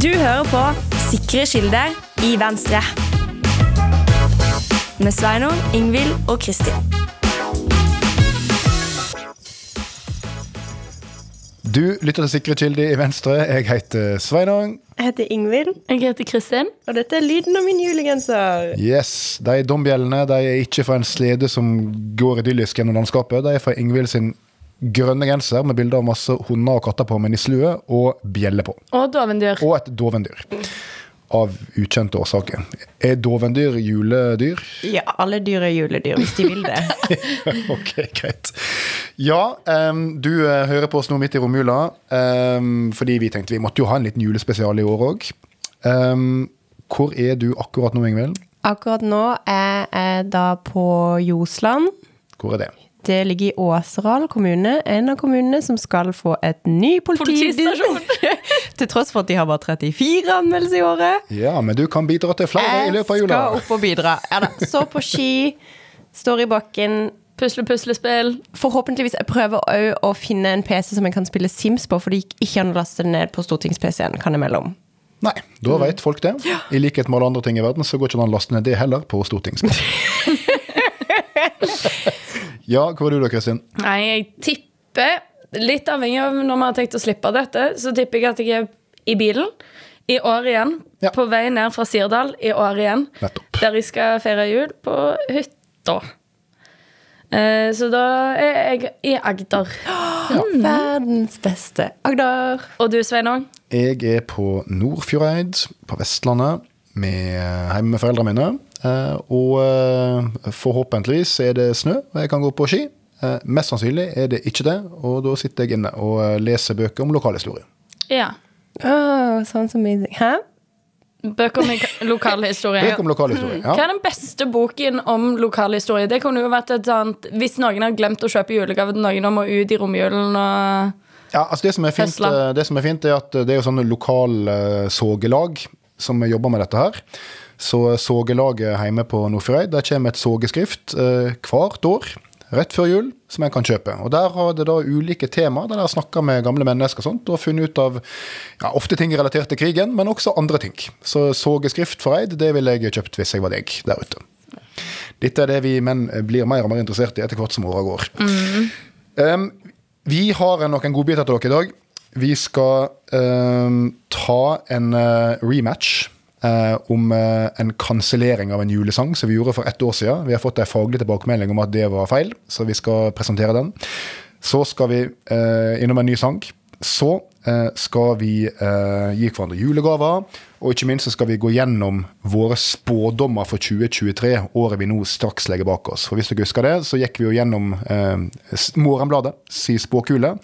Du hører på Sikre kilder i Venstre. Med Sveinung, Ingvild og Kristin. Du lytter til Sikre kilder i Venstre. Jeg heter Sveinung. Jeg heter Ingvild, Jeg heter Kristin. og dette er lyden av min julegenser. Yes, De dombjellene de er ikke fra en slede som går idyllisk gjennom landskapet. De er fra Ingvild sin grønne genser med bilder av masse hunder og katter på, men i slue, og bjelle på. Og dovendyr. Og et dovendyr. Av ukjente årsaker. Er dovendyr juledyr? Ja, alle dyr er juledyr hvis de vil det. ok, greit. Ja, em, du eh, hører på oss nå midt i romjula, em, fordi vi tenkte vi måtte jo ha en liten julespesial i år òg. hvor er du akkurat nå, Ingvild? Akkurat nå er jeg da på Josland. Hvor er det? Det ligger i Åseral kommune, en av kommunene som skal få et ny politi... Til tross for at de har bare 34 anmeldelser i året. Ja, men du kan bidra til flere i Jeg løpet av jula. skal opp og bidra. Ja da. Står på ski, står i bakken. Pusle, puslespill. Forhåpentligvis jeg prøver òg å finne en PC som jeg kan spille Sims på, for det gikk ikke an å laste det ned på stortings-PC-en, kan jeg melde om. Nei, da Mm. vet folk det. I likhet med alle andre ting i verden, så går ikke an å laste ned det heller på stortingsplass. ja, hvor er du da, Kristin? Nei, jeg tipper, litt avhengig av når vi har tenkt å slippe dette, så tipper jeg at jeg er i bilen i år igjen. Ja. På vei ned fra Sirdal i år igjen. Nettopp. Der jeg skal feire jul på hytta. Eh, Så da er jeg i Agder. Mm. Verdens beste Agder. Og du, Sveinung? Jeg er på Nordfjordeid, på Vestlandet, med, hjemme med foreldrene mine. Eh, Og eh, forhåpentligvis er det snø, og jeg kan gå på ski. Eh, Mest sannsynlig er det ikke det, og da sitter jeg inne og eh, leser bøker om lokalhistorie. Ja. Oh, sounds amazing. Hæ? Bøker med lokalhistorie. Bøker om Mm. lokalhistorie, Hva ja. er den beste boken om lokalhistorie? Det kunne jo vært et sånt Hvis noen har glemt å kjøpe julegave til noen og må ut i romjulen og ja altså det, som er fint, Tesla. eh, det som er fint, er at det er jo sånne lokalsogelag som jobber med dette her. Så sogelaget hjemme på Nordfjordeid, der kommer et sogeskrift eh, hvert år. Rett før jul, som en kan kjøpe. Og Der har det da ulike tema, der de har snakka med gamle mennesker og sånt, og funnet ut av ja, ofte ting relatert til krigen, men også andre ting. Så sogeskrift for Eid, det ville jeg kjøpt hvis jeg var deg der ute. Dette er det vi menn blir mer og mer interessert i etter hvert som åra går. Um, vi har eh, noen godbiter til dere i dag. Vi skal um, ta en eh, rematch eh, om eh, en kansellering av en julesang som vi gjorde for ett år siden. Vi har fått en faglig tilbakemelding om at det var feil, så vi skal presentere den. Så skal vi eh, innom en ny sang. Så eh, skal vi eh, gi hverandre julegaver, og ikke minst så skal vi gå gjennom våre spådommer for 2023, året vi nå straks legger bak oss. For hvis dere husker det, så gikk vi jo gjennom eh, s- Morgenbladet si spåkule,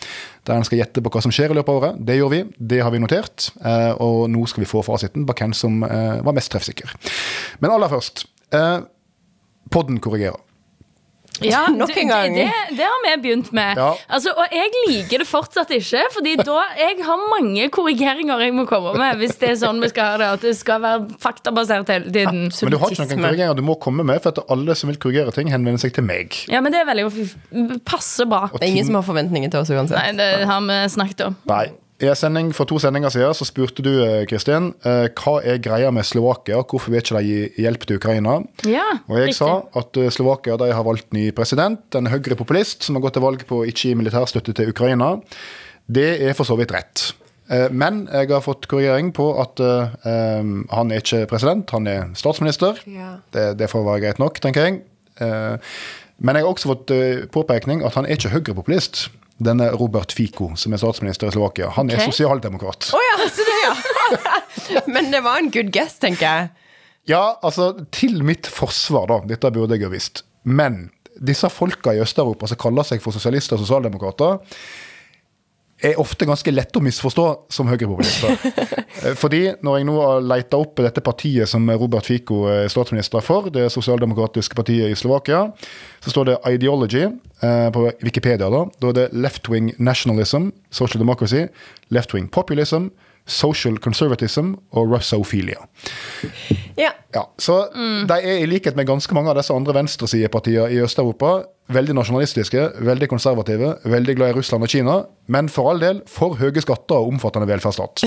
der en skal gjette på hva som skjer i løpet av året. Det gjorde vi, det har vi notert, eh, og nå skal vi få fasiten på hvem som eh, var mest treffsikker. Men aller først, eh, podden korrigerer. ja, Nok du- en gang. Det, det, det har vi begynt med. Ja. Altså, og jeg liker det fortsatt ikke, Fordi da jeg har mange korrigeringer jeg må komme med. Hvis det er sånn vi skal ha det, at det skal være faktabasert hele tiden. Men du har ikke noen korrigeringer du må komme med, for at alle som vil korrigere ting, henvender seg til meg. Ja, men det er veldig passe bra. Og Det er ingen ting- som har forventninger til oss uansett. Nei, det har vi snakket om. Nei. I en sending For to sendinger siden så spurte du eh, Kristin, eh, hva er greia med Slovakia. Hvorfor vil ikke de gi hjelp til Ukraina? Ja, Og jeg riktig. sa at eh, Slovakia de har valgt ny president, en høyrepopulist som har gått til valg på å ikke gi militærstøtte til Ukraina. Det er for så vidt rett. Eh, Men jeg har fått korrigering på at eh, eh, han er ikke president, han er statsminister. Ja. Det, det får være greit nok, tenker jeg. Eh, Men jeg har også fått eh, påpekning at han er ikke høyrepopulist. Denne Robert Fico, som er statsminister i Slovakia, han er Ok. sosialdemokrat. Å ja, så det, ja. Men det var en good guess, tenker jeg. Ja, altså, til mitt forsvar, da. Dette burde jeg ha visst. Men disse folka i Øst-Europa som kaller seg for sosialister og sosialdemokrater, er ofte ganske lette å misforstå som høyrepopulister. Eh, Fordi når jeg nå har leita opp dette partiet som Robert Fico er statsminister for, det sosialdemokratiske partiet i Slovakia, så står det ideology eh, på Wikipedia. Da Da er det left-wing nationalism, social democracy, left-wing populism, social conservatism og russophilia. Ja. Ja, så De er i likhet med ganske mange av disse andre venstresidepartiene i Øst-Europa veldig nasjonalistiske, veldig konservative, veldig glad i Russland og Kina, men for all del for høye skatter og omfattende velferdsstat.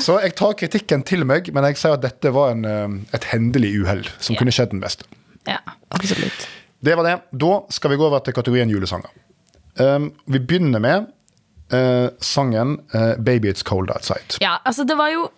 så jeg tar kritikken til meg, men jeg sier at dette var en, eh, et hendelig uhell som kunne skjedd den beste. Ja. Absolutt. Det var det. Da skal vi gå over til kategorien julesanger. Um, vi begynner med eh, sangen eh, 'Baby It's Cold Outside'. Ja, altså det var jo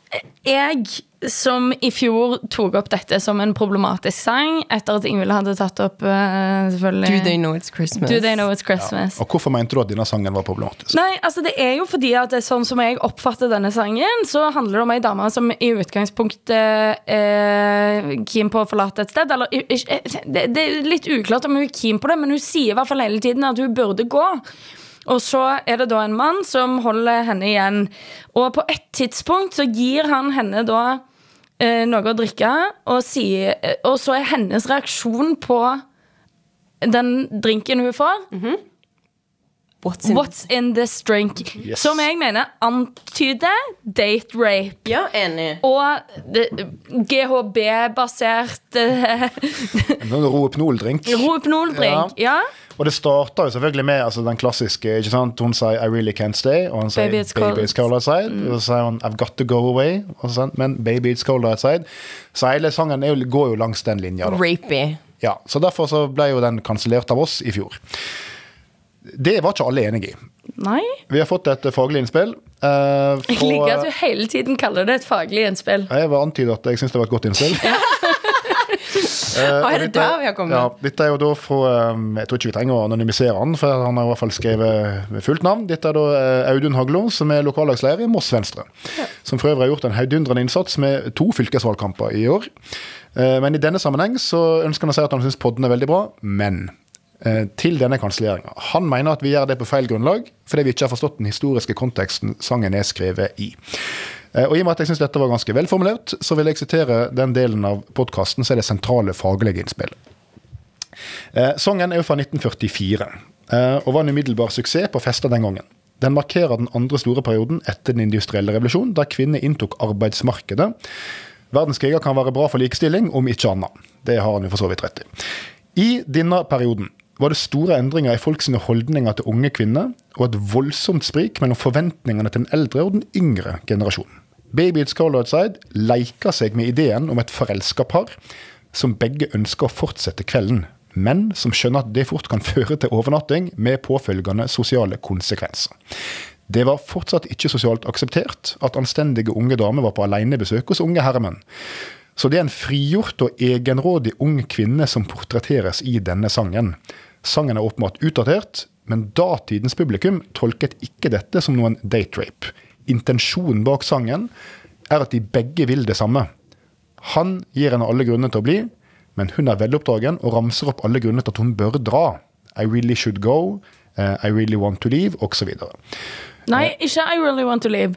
jeg som i fjor tok opp dette som en problematisk sang, etter at Ingvild hadde tatt opp eh, Do selvfølgelig they know it's Christmas? Do They Know It's Christmas. Og hvorfor mente du at denne sangen var problematisk? Nei, altså det er jo fordi at det er sånn som jeg oppfatter denne sangen, så handler det om ei dame som i utgangspunktet er keen på å forlate et sted. Eller i- ikke- det, det er litt uklart om hun er keen på det, men hun sier i hvert fall hele tiden at hun burde gå. Og så er det da en mann som holder henne igjen. Og på et tidspunkt så gir han henne da eh, noe å drikke, og, sier, eh, og så er hennes reaksjon på den drinken hun får, What's in What's in this drink? Yes. Som jeg mener antyder date rape. Ja, enig. Og eh, det- GHB-basert eh, En rohypnol-drink. rohypnoldrink. Ja. Og det starter jo selvfølgelig med altså, den klassiske. ikke sant? Hun sier 'I really can't stay', og han sier 'Baby it's cold, outside'. Og så sier hun 'I've got to go away', og så sier han, men 'Baby it's cold outside'. Så hele sangen er jo, går jo langs den linja. da. Rapey. Ja, så derfor så ble jo den kansellert av oss i fjor. Det var ikke alle enig i. Nei? Vi har fått et eh, faglig innspill. eh, Jeg fra- liker at du hele tiden kaller det et faglig innspill. Jeg var antydet at jeg syns det var et godt innspill. Eh, Og er det dette- der vi har kommet? Ja, dette er jo da fra um, Jeg tror ikke vi trenger å anonymisere han, for han har i hvert fall skrevet fullt navn. Dette er da eh, Audun Haglo, som er lokallagsleder i Moss Venstre. Som for øvrig har gjort en heidundrende innsats med to fylkesvalgkamper i år. Eh, Men i denne sammenheng så ønsker han å si at han syns podden er veldig bra, men eh, til denne kanselleringa. Han mener at vi gjør det på feil grunnlag, fordi vi ikke har forstått den historiske konteksten sangen er skrevet i. Eh, Og i og med at jeg syns dette var ganske velformulert, så vil jeg sitere den delen av podkasten som er det sentrale faglige innspillet. Eh, Sangen er jo fra 1944, eh, og var en umiddelbar suksess på fester den gangen. Den markerer den andre store perioden etter den industrielle revolusjon, der kvinner inntok arbeidsmarkedet. Verdenskriger kan være bra for likestilling, om ikke annet. Det har han jo for så vidt rett i. I denne perioden var det store endringer i folks holdninger til unge kvinner, og et voldsomt sprik mellom forventningene til den eldre og den yngre generasjonen. Baby It's Cold Outside leker seg med ideen om et forelska par som begge ønsker å fortsette kvelden, men som skjønner at det fort kan føre til overnatting med påfølgende sosiale konsekvenser. Det var fortsatt ikke sosialt akseptert at anstendige unge damer var på alenebesøk hos unge herremenn. Så det er en frigjort og egenrådig ung kvinne som portretteres i denne sangen. Sangen er åpenbart utdatert, men datidens publikum tolket ikke dette som noen date rape. Intensjonen bak sangen er at de begge vil det samme. Han gir henne alle grunner til å bli, men hun er veloppdragen og ramser opp alle grunner til at hun bør dra. I really should go, eh, I really want to leave, osv. Nei, ikke I really want to leave.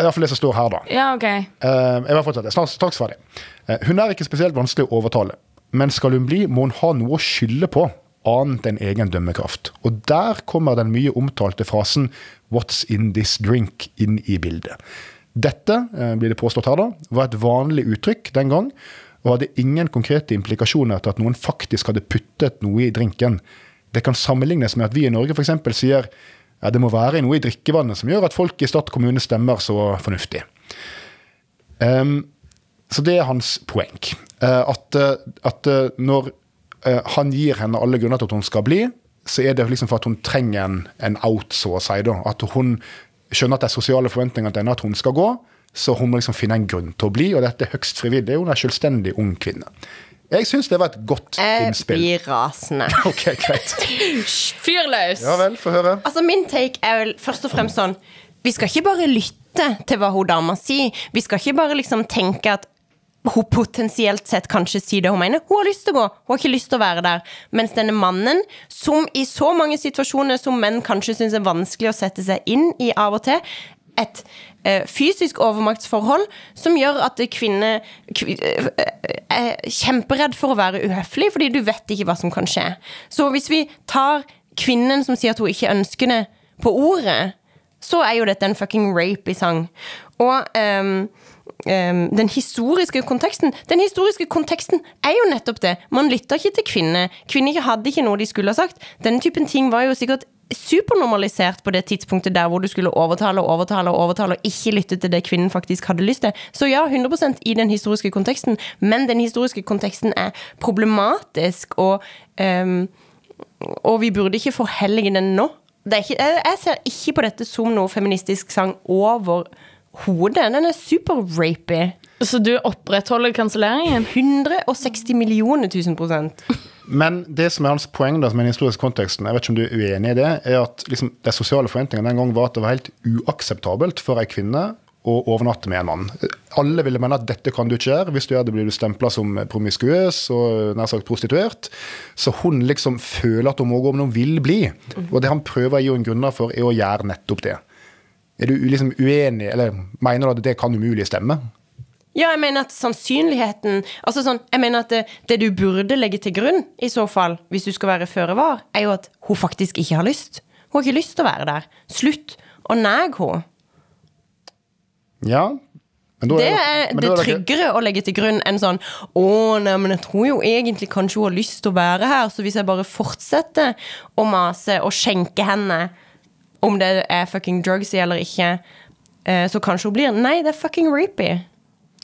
Iallfall det som står her, da. Ja, ok. Eh, jeg var fortsatt straks, straks ferdig. Eh, hun er ikke spesielt vanskelig å overtale, men skal hun bli, må hun ha noe å skylde på, annet enn egen dømmekraft. Og der kommer den mye omtalte frasen 'What's in this drink?' inn i bildet. Dette, eh, blir det påstått her, da, var et vanlig uttrykk den gang, og hadde ingen konkrete implikasjoner til at noen faktisk hadde puttet noe i drinken. Det kan sammenlignes med at vi i Norge f.eks. sier ja, det må være noe i drikkevannet som gjør at folk i Stad kommune stemmer så fornuftig. Um, så det er hans poeng. Eh, at eh, at eh, når eh, han gir henne alle grunner til at hun skal bli, så er det liksom for at hun trenger en, en out, så å si. Da. At hun skjønner at det er sosiale forventninger til henne at hun skal gå, så hun må liksom finne en grunn til å bli, og dette er høyst frivillig. Hun er en selvstendig ung kvinne. Jeg syns det var et godt Jeg innspill. blir rasende. Ok, greit. Fyr løs! Ja vel, få høre. Altså, min take er vel først og fremst sånn Vi skal ikke bare lytte til hva hun dama sier. Vi skal ikke bare liksom tenke at hun potensielt sett kanskje sier det hun mener. Hun har lyst til å gå, hun har ikke lyst til å være der. Mens denne mannen, som i så mange situasjoner som menn kanskje syns er vanskelig å sette seg inn i av og til, et eh, fysisk overmaktsforhold som gjør at kvinner kvi, eh, er kjemperedd for å være uhøflig, fordi du vet ikke hva som kan skje. Så hvis vi tar kvinnen som sier at hun ikke ønsker det, på ordet, så er jo dette en fucking rape i sang. Og ehm, ehm, den historiske konteksten Den historiske konteksten er jo nettopp det. Man lytter ikke til kvinner. Kvinner hadde ikke noe de skulle ha sagt. Denne typen ting var jo sikkert supernormalisert på det tidspunktet der hvor du skulle overtale og overtale og overtale og ikke lytte til det kvinnen faktisk hadde lyst til. Så ja, 100 i den historiske konteksten, men den historiske konteksten er problematisk, og, ehm, og vi burde ikke forhellige den nå. Det er ikke, jeg, jeg ser ikke på dette som noe feministisk sang overhodet. Den er super-rapy. Så du opprettholder kanselleringen? 160 millioner tusen prosent. Men det som er hans poeng, da, som er den historiske konteksten, jeg vet ikke om du er uenig i det, er at liksom, de sosiale forventningene den gang var at det var helt uakseptabelt for ei kvinne å overnatte med en mann. Alle ville mene at dette kan du ikke gjøre, hvis du gjør det blir du stempla som promiskuøs og nær sagt prostituert. Så hun liksom føler at hun må gå om hun vil bli. Og det han prøver å gi henne grunner for, er å gjøre nettopp det. Er du liksom uenig, eller mener du at det kan umulig stemme? Ja, jeg mener at sannsynligheten Altså sånn, jeg mener at det, det du burde legge til grunn, i så fall, hvis du skal være føre var, er jo at hun faktisk ikke har lyst. Hun har ikke lyst til å være der. Slutt å nære henne. Ja. Men da Det men er da det ikke- tryggere å legge til grunn enn sånn Å, nei, men jeg tror jo egentlig kanskje hun har lyst til å være her, så hvis jeg bare fortsetter å mase og skjenke henne om det er fucking drugs i eller ikke, eh, så kanskje hun blir Nei, det er fucking rapey.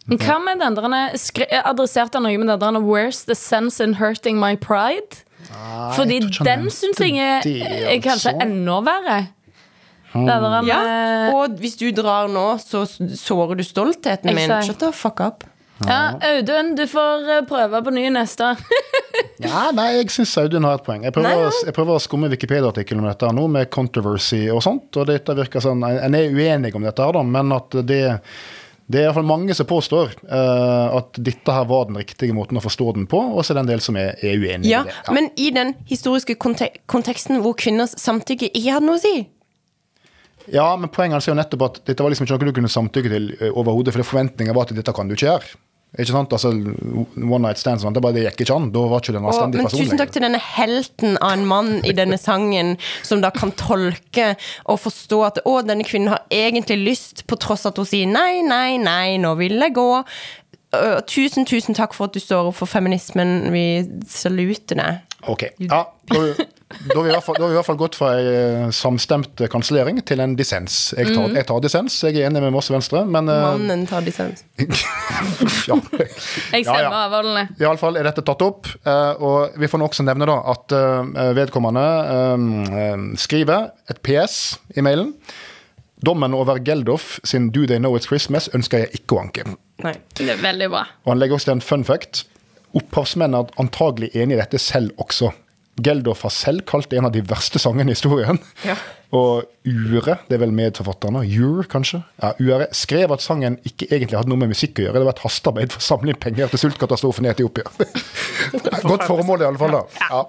Men Hva med den der skri- Adresserte han noe med den der Where's the sense in hurting my pride? Fordi tror ikke han den nevnte syns jeg er, det, er kanskje altså. enda verre. Den der Ja, med- Eh, og hvis du drar nå, så s- sårer du stoltheten min. Exakt. Shut the fuck up. ja, Audun, du får eh, prøve på ny neste. Ja, nei, jeg syns Audun har et poeng. Jeg prøver, Nei, Å, jeg prøver å skumme Wikipedia-artikkelen om dette her nå, med controversy og sånt. og dette virker sånn, En er uenig om dette, her da, men at det, det er iallfall mange som påstår eh, at dette her var den riktige måten å forstå den på, og så er det en del som er, er uenig i Ja, det. Men i den historiske konte konteksten hvor kvinners samtykke ikke hadde noe å si. ja, men poenget hans er jo nettopp at dette var liksom ikke noe du kunne samtykke til eh, overhodet, for forventninga var at dette kan du ikke gjøre. Ikke sant? Altså, One night stands og sånt, det, bare, det gikk ikke an. Da var ikke du en Og, anstendig men person tusen takk til denne helten av en mann i denne sangen, som da kan tolke og forstå at å, denne kvinnen har egentlig lyst, på tross at hun sier nei, nei, nei, nå vil jeg gå. Øh, tusen, tusen takk for at du står opp for feminismen. Vi saluter deg. Ok, ja, da, da, har vi i hvert fall, da har vi i hvert fall gått fra ei samstemt eh, kansellering til en dissens. Jeg tar, jeg tar dissens, jeg er enig med Moss Venstre, men eh, Mannen tar dissens. ja. Jeg Ja, stemmer ja. avholdende. Iallfall er dette tatt opp, eh, og vi får nå også nevne da at eh, vedkommende eh, eh, skriver et PS i mailen. Dommen over Geldof sin Do They Know It's Christmas ønsker jeg ikke å anke. Nei. Det er veldig bra. Og han legger også til en fun fact. Opphavsmennene er antagelig enig i dette selv også. Geldof har selv kalt det en av de verste sangene i historien. Ja. Og Ure, det er vel medforfatterne, Ure kanskje, ja, Ure, skrev at sangen ikke egentlig hadde noe med musikk å gjøre. Det var et hastearbeid for å samle inn penger til sultkatastrofen i Etiopia. Godt formål, i alle fall da. Ja.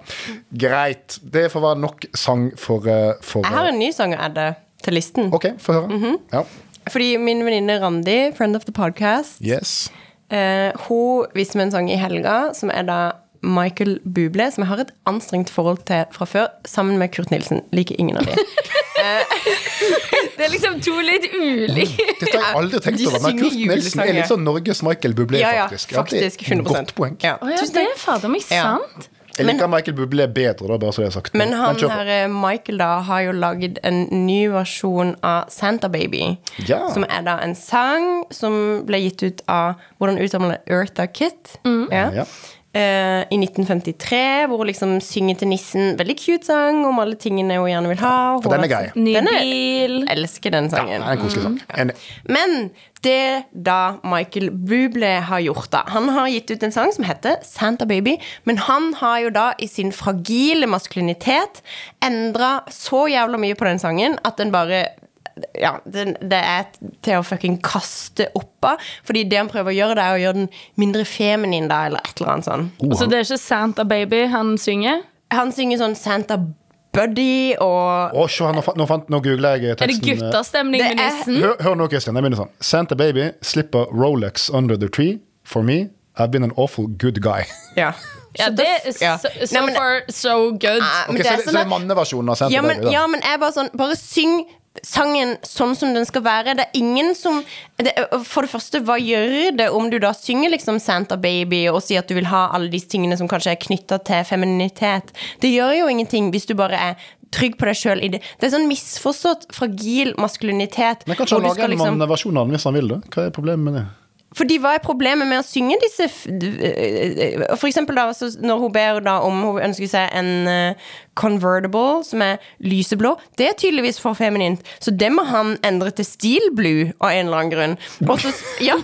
Greit. Det får være nok sang for, eh, for eh, Jeg har en Mhm. ny sang å adde til listen. OK, få høre. ja. Fordi min venninne Randi, friend of the podcast, Yes. eh, hun viste meg en sang i helga som er da Michael Bublé, som jeg har et anstrengt forhold til fra før, sammen med Kurt Nilsen. Liker ingen av de. Det er liksom to litt ulike Dette har jeg aldri tenkt De over, men synger Kurt Nilsen er julesanger. litt sånn Norges Michael Bublé, Ja, ja, faktisk. det er faktisk. 100 Godt poeng. Ja. Å ja, Tusen Det takk. er fader meg Ja. sant. Jeg liker Michael Bublé bedre, da, bare så det er sagt. Men han kjør på. her, eh, Michael da, har jo lagd en ny versjon av Santa Baby. Ja. Som er da en sang som ble gitt ut av hvordan uttaler Eartha Kitt. Mm. Ja. Ja. Eh, I 1953, hvor hun liksom synger til nissen. Veldig cute sang om alle tingene hun gjerne vil ha. Hun For den er har- grei. Ny Den er- bil. Jeg elsker den Ja, sangen. det er en koselig Mm, sang. Enig. Men det da Michael Bublé har gjort da Han har gitt ut en sang som heter Santa Baby Men han har jo da i sin fragile maskulinitet Endret så jævla mye på den sangen At den bare ja, den, det er til å fucking kaste opp av Fordi det han prøver å gjøre Det er å gjøre den mindre feminin da Eller et eller annet sånn Oh. Så det er ikke Santa Baby han synger? Han synger sånn Santa Buddy Og Å, se, nå, fant, nå, fant, nå googler jeg eh, Er det teksten. guttastemning Det med er- nissen? Hør, hør nå, Christian. Jeg begynner sånn. Santa Baby slipper Rolex under the tree. For me, I've been an awful good guy. ja, Ja, Så det er ja. so, Nei, so men- far so good. Ah, men Ok, det så, er det, sånn så det at- er manneversjonen av Santa ja, men, Baby. Da. ja, men jeg bare sånn Bare syng sangen sånn som den skal være. Det er ingen som det, For det første, hva gjør det om du da synger liksom Santa Baby og sier at du vil ha alle disse tingene som kanskje er knytta til femininitet? Det gjør jo ingenting hvis du bare er trygg på deg sjøl i det. Det er sånn misforstått fragil maskulinitet. Men kanskje han hvor du lager en skal liksom- manneversjon av den hvis han vil det? Hva er problemet med det? fordi hva er problemet med å synge disse f- d- øh, øh, For eksempel da, altså, når hun ber da om hun ønsker seg en øh, convertible som er lyseblå, det er tydeligvis for feminint. Så det må han endre til steel blue av en eller annen grunn. Og, så, ja,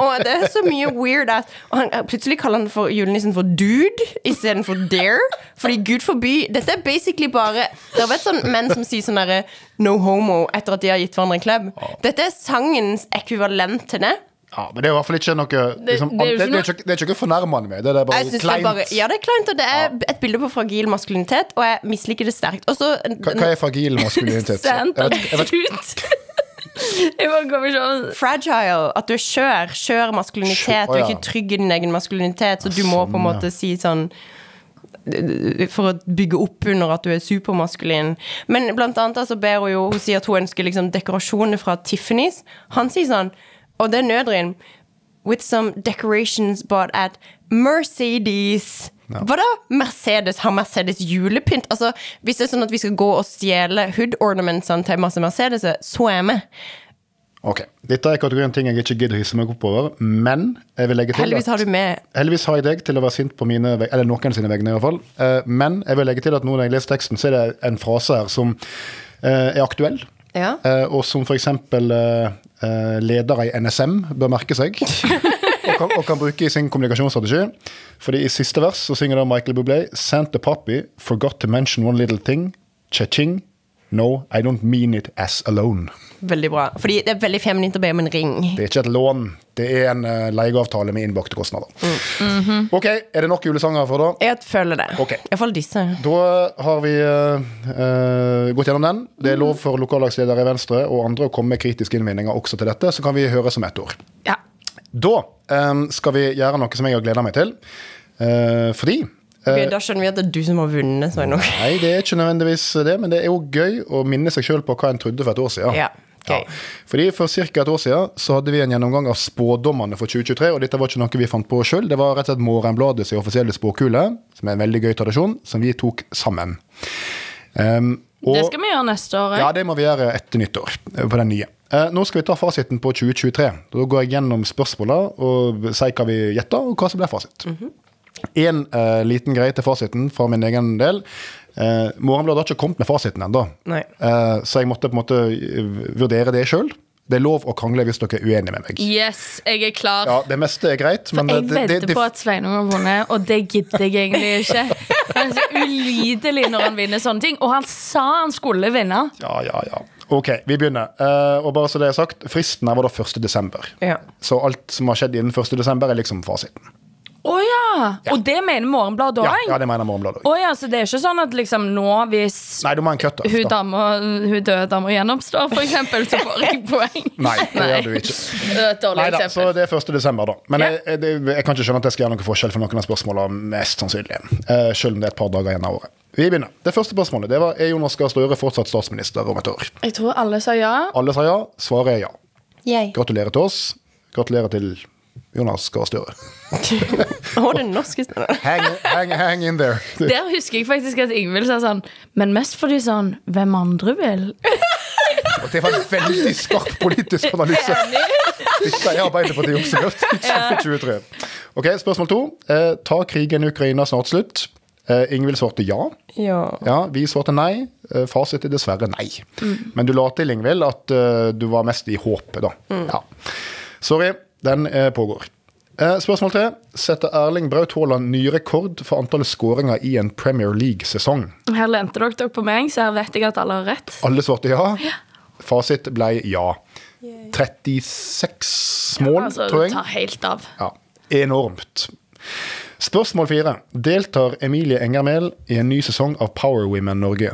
og det er så mye weird at og han, Plutselig kaller han for julenissen for dude istedenfor dare. Fordi gud forby Dette er basically bare Dere vet sånn menn som sier sånn derre no homo etter at de har gitt hverandre en klem? Dette er sangens ekvivalent til det. Ja, men det er i hvert fall ikke noe liksom, det er jo ikke Det det er ikke- det er ikke noe fornærmende med det. Det er Jeg bare synes Det er kleint. bare, ja, det er kleint, og det er et bilde på fragil maskulinitet, og jeg misliker det sterkt. Og så Hva, hva er fragil maskulinitet? Jeg Santa vet, jeg vet, Tut. Jeg bare kommer sånn fragile, at du er skjør. Skjør maskulinitet. Skjør, Du er ja. ikke trygg i din egen maskulinitet, så du må på en måte si sånn for å bygge opp under at du er supermaskulin. Men blant annet altså, ber hun jo Hun sier at hun ønsker liksom, dekorasjoner fra Tiffany's. Han sier sånn, og det er nødrim With some decorations bought at Mercedes. Hva da? Mercedes har Mercedes julepynt? Altså, hvis det er sånn at vi skal gå og stjele hood ornamentsene til masse Mercedeser, så er jeg med. ok, Dette er kategorien ting jeg ikke gidder å hisse meg opp over, men jeg vil legge til Heldigvis har at du med Heldigvis har jeg deg til å være sint på mine veg- eller noen sine vegne, i hvert fall. Eh, Men jeg vil legge til at nå når jeg leser teksten, så er det en frase her som eh, er aktuell. Ja. Eh, Og som f.eks. eh, leder i NSM bør merke seg. Og kan, og kan bruke i sin kommunikasjonsstrategi. Fordi i siste vers så synger da Michael Bublé Santa Poppy forgot to mention one little thing. Cha-ching. No, I don't mean it as a loan. Veldig bra. Fordi det er veldig feminint å be om en ring. Det er ikke et lån, det er en eh, leieavtale med innbakte kostnader. Ok, er det nok julesanger for da? Jeg føler det. Ok. Iallfall disse. Da har vi eh, eh, gått gjennom den. Det er lov for lokallagsledere i Venstre og andre å komme med kritiske innvendinger også til dette, så kan vi høre som ett ord. Ja. Da eh, skal vi gjøre noe som jeg har gleda meg til, eh, fordi eh, Ok, da skjønner vi at det er du som har vunnet. Så er det nok. Nei, det er ikke nødvendigvis det, men det er jo gøy å minne seg sjøl på hva en trodde for et år siden. Ja, gøy. Fordi For ca. et år siden så hadde vi en gjennomgang av spådommene for 2023. og Dette var ikke noe vi fant på sjøl, det var rett og slett Morgenbladet sin offisielle spåkule, som er en veldig gøy tradisjon, som vi tok sammen. Um, og- Det skal vi gjøre neste år. ja, det må vi gjøre etter nyttår. eh, På den nye. Eh, Nå skal vi ta fasiten på 2023. Da går jeg gjennom spørsmåla og sier hva vi gjetta, og hva som ble fasit. Mhm. En eh, liten greie til fasiten fra min egen del. Eh, Morgenbladet har ikke kommet med fasiten ennå, Nei. Eh, så jeg måtte på en måte eh, vurdere det sjøl. Det er lov å krangle hvis dere er uenige med meg. eh. Yes, jeg er klar. Ja, Det meste er greit, men Jeg det- det- vedder det- på at Sveinung har vunnet, og det gidder jeg egentlig ikke. Det er så ulidelig når han vinner sånne ting. Og han sa han skulle vinne. Ja, ja, ja. Ok, vi begynner. Eh, og bare så det er sagt, fristen her var da 1. desember. Ja. Så alt som har skjedd innen 1. desember, er liksom fasiten. Å ja! Og det mener Morgenbladet Ja, òg? ja, det mener Morgenbladet òg. Å ja, så det er ikke sånn at liksom nå, hvis Nei, du må ha en cutoff. hun, da. dama, hun døde dama gjennomstår, for eksempel, så får jeg poeng. Nei, det gjør du ikke. Det er et dårlig Neida, så eksempel. det er 1. desember, da. Men liksom. Ja. jeg, jeg, det- jeg kan ikke skjønne at jeg skal gjøre noen forskjell for noen av spørsmålene, mest sannsynlig. Eh, selv om det er et par dager igjen av året. Vi begynner. Det første spørsmålet det var er Jonas Gahr Støre fortsatt statsminister om et år. Jeg tror alle sa ja. Alle sa ja. Svaret er ja. Yay. Gratulerer til oss. Gratulerer til Jonas Gahr Støre. Å, den norske stedet. Hang, hang, hang in there. Der husker jeg faktisk at Ingvild sa sånn, men mest fordi sånn Hvem andre vil? Og Det var en veldig skarp politisk analyse. Dette er Arbeiderpartiet observert i 2023. Ok, Spørsmål to. Eh, tar krigen i Ukraina snart slutt? Eh, Ingvild svarte ja. Ja. Ja, Vi svarte nei. Eh, Fasit er dessverre nei. Men du la til, Ingvild, at eh, du var mest i håpet, da. Ja. Sorry, den eh, pågår. Eh, spørsmål tre. Setter Erling Braut Haaland ny rekord for antallet skåringer i en Premier League-sesong? Her lente dere dere på meg, så her vet jeg at alle har rett. Alle svarte ja. Fasit ble ja. 36 mål, Altså, tror det jeg. tar helt av. Ja, enormt. Spørsmål fire. Deltar Emilie Enger Mehl i en ny sesong av Power Women Norge?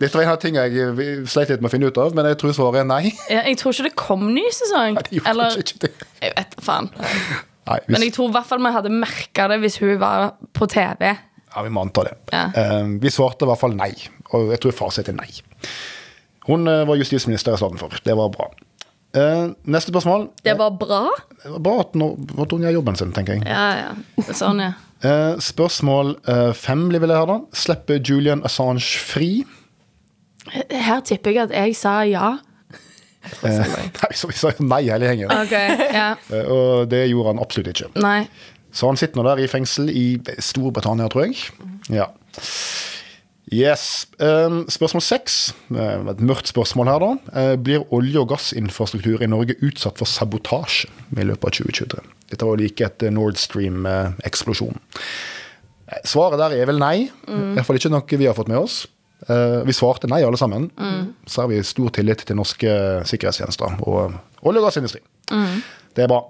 Dette var en av tingene jeg eh, sleit litt med å finne ut av, men jeg tror svaret er nei. Ja, jeg tror ikke det kom ny sesong. Nei, det gjorde Eller, kanskje ikke det. jeg vet da faen. Nei, Men hvis, jeg tror i hvert fall vi hadde merka det hvis hun var på TV. ja, vi må anta det. Ja. Eh, vi svarte i hvert fall nei, Og jeg tror fasit er nei. Hun eh, var justisminister istedenfor. Det var bra. Eh, neste spørsmål. Det var bra? Det var bra at, nå, at hun gjør jobben sin, tenker jeg. Ja, ja. Sånn, ja. Eh, spørsmål eh, fem blir vel det her, da. Slippe Julian Assange fri? Her tipper jeg at jeg sa ja. Eh, nei, så vi sa jo nei hele gjengen. Ok, ja. Eh, og det gjorde han absolutt ikke. Nei. Så han sitter nå der i fengsel i Storbritannia, tror jeg. Ja. Yes. Ehm, spørsmål seks, eh, et mørkt spørsmål her, da. Eh, Blir olje- og gassinfrastruktur i Norge utsatt for sabotasje i løpet av 2023? Dette var like etter Nord Stream-eksplosjonen. Eh, Svaret der er vel nei. Mm. I hvert fall ikke noe vi har fått med oss. Eh, Vi svarte nei, alle sammen. Mm. Så har vi stor tillit til norske eh, sikkerhetstjenester og eh, olje- og gassindustri. Mm. Det er bra.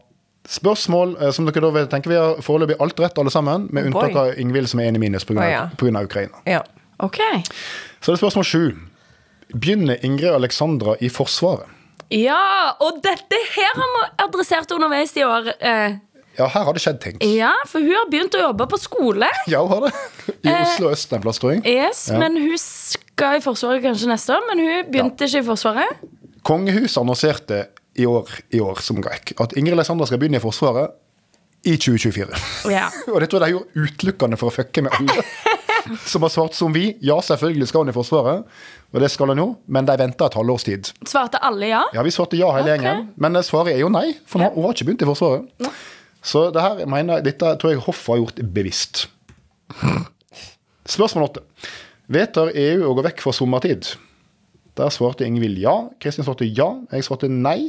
Spørsmål eh, som dere da vil tenke Vi har foreløpig alt rett, alle sammen, med Boy. unntak av Ingvild, som er enig i minus pga. Å, ja. Ukraina. Ja. Ok. Så det er spørsmål sju. Begynner Ingrid Alexandra i Forsvaret? Ja, og dette her har vi adressert underveis i år. Eh, Ja, her har det skjedd ting. ja, for hun har begynt å jobbe på skole. Ja, hun har det. I Oslo øst en plass, tror jeg. Yes, Ja. men hun skal i Forsvaret kanskje neste år, men hun begynte ikke i Forsvaret. Kongehuset annonserte i år, i år som gikk, at Ingrid Alexandra skal begynne i Forsvaret i 2024. Ja. Og det tror jeg de gjorde utelukkende for å fucke med alle som har svart som vi. Ja, selvfølgelig skal hun i Forsvaret, og det skal hun jo, men de venter et halvårs tid. Svarte alle ja? Ja, vi svarte ja hele Ok. gjengen, men eh, svaret er jo nei, for nå, hun har ikke begynt i Forsvaret. Så det her mener, jeg- dette tror jeg hoffet har gjort bevisst. Spørsmål åtte. Vedtar EU å gå vekk fra sommertid? Der svarte Ingvild ja, Kristin svarte ja, jeg svarte nei.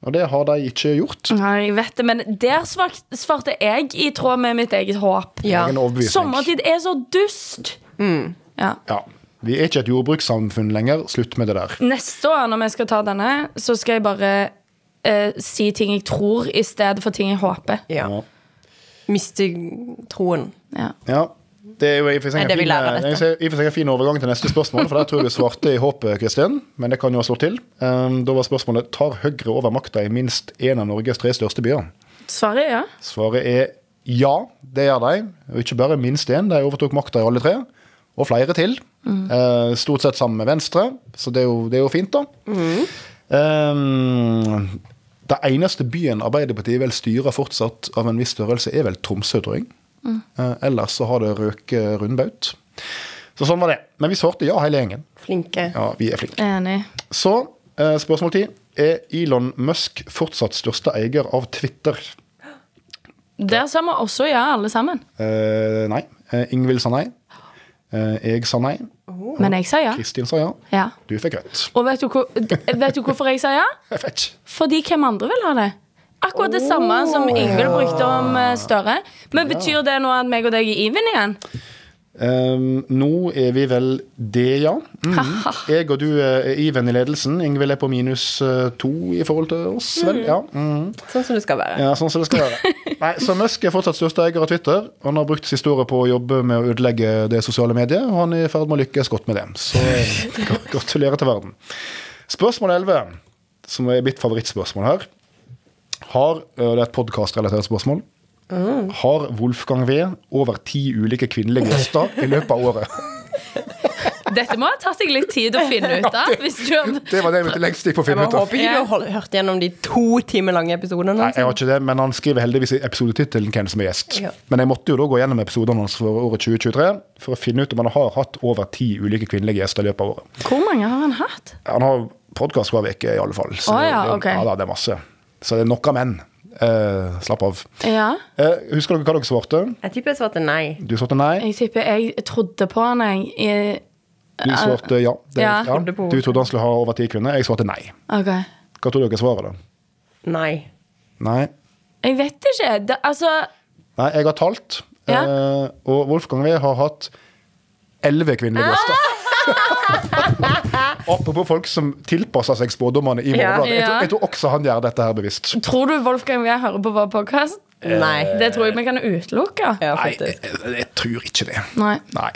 Og det har de ikke gjort. Nei, jeg vet det, men der svart- svarte jeg i tråd med mitt eget håp. Ja. Egen overbevisning. Sommertid er så dust. Ja. Ja. Vi er ikke et jordbrukssamfunn lenger, slutt med det der. Neste år når vi skal ta denne, så skal jeg bare eh, si ting jeg tror, i stedet for ting jeg håper. Ja. ja. Miste troen. Ja. Ja. Det er jo i og for seg Nei, en det vil fin- jeg være jeg ser- i og for seg en fin overgang til neste spørsmål, for der tror jeg du svarte i håpet, Kristin. Men det kan jo ha slått til. Um, da var spørsmålet tar Høyre over makta i minst én av Norges tre største byer. Svaret er ja. Svaret er ja, det gjør de. Og ikke bare minst én, de overtok makta i alle tre. Og flere til. Eh, stort sett sammen med Venstre, så det er jo, det er jo fint, da. Um, det eneste byen Arbeiderpartiet vel styrer fortsatt av en viss størrelse, er vel Tromsø, tror jeg. Eh, ellers så har det røket rundbaut. Så sånn var det. Men vi svarte ja, hele gjengen. Flinke. Ja, vi er flinke. Enig. Så, eh, spørsmål 10. Er Elon Musk fortsatt største eier av Twitter? Der sa vi også ja, alle sammen. Eh, nei. Eh, Ingvild sa nei. Eh, jeg sa nei. Men jeg sa ja. Oh. Kristin sa ja. ja. Du fikk rett. Og vet du, hvor, d- vet du hvorfor jeg sa ja? Jeg vet ikke. Fordi hvem andre vil ha det? Akkurat det samme som Ingvild brukte om eh, Støre. Men betyr det nå at meg og deg er even igjen? Um, nå er vi vel det, ja. Mhm. Jeg og du eh, er even i ledelsen. Ingvild er på minus eh, to i forhold til oss, vel? Ja. Mhm. Sånn som det skal være. ja, sånn som det skal være. Nei, så Musk er fortsatt største eier av Twitter. Han har brukt siste året på å jobbe med å ødelegge det sosiale mediet, og han er i ferd med å lykkes godt med det. Så eh, gratulerer til verden. Spørsmål 11, som er mitt favorittspørsmål her, har, eh, det er et podkastrelatert spørsmål, har Wolfgang V over ti ulike kvinnelige gjester i løpet av året? Dette må ha tatt deg litt tid å finne ut av. Hvis du har... Det var det jeg brukte lengst tid på å Jeg finne ut bare av. håper ikke du har hol- hørt gjennom de to timer lange episodene. Sånn Nei, jeg altså. har ikke det, men han skriver heldigvis i episodetittelen hvem som er gjest. Ja. Men jeg måtte jo da gå gjennom episodene hans for året 2023 for å finne ut om han har hatt over ti ulike kvinnelige gjester i løpet av året. Hvor mange har han hatt? Han har podkast hver uke, i alle fall. Så Å ja, det, ok. ja, da, det er masse. Så det er nok av menn. Eh, slapp av. Ja. Eh, husker dere hva dere svarte? Jeg tipper jeg svarte nei. Du svarte nei. Jeg tipper jeg trodde på han, jeg. I- Du svarte ja. Det, Eh, Ja. ja. Du trodde han skulle ha over ti kvinner. Jeg svarte nei. Ok. Hva tror dere svaret, da? Nei. Nei. Jeg vet ikke. Det, altså Nei, jeg har talt, Ja. eh, og Wolfgang V har hatt elleve kvinnelige gjester. Apropos folk som tilpasser seg spådommene i Ja. Morgenbladet. Jeg, tror- Ja. jeg tror også han gjør dette her bevisst. Tror du Wolfgang vil høre på vår podkast? Nei. Det tror jeg vi kan utelukke. Ja, Eh, Nei, jeg, faktisk. jeg, jeg tror ikke det. Nei. Nei.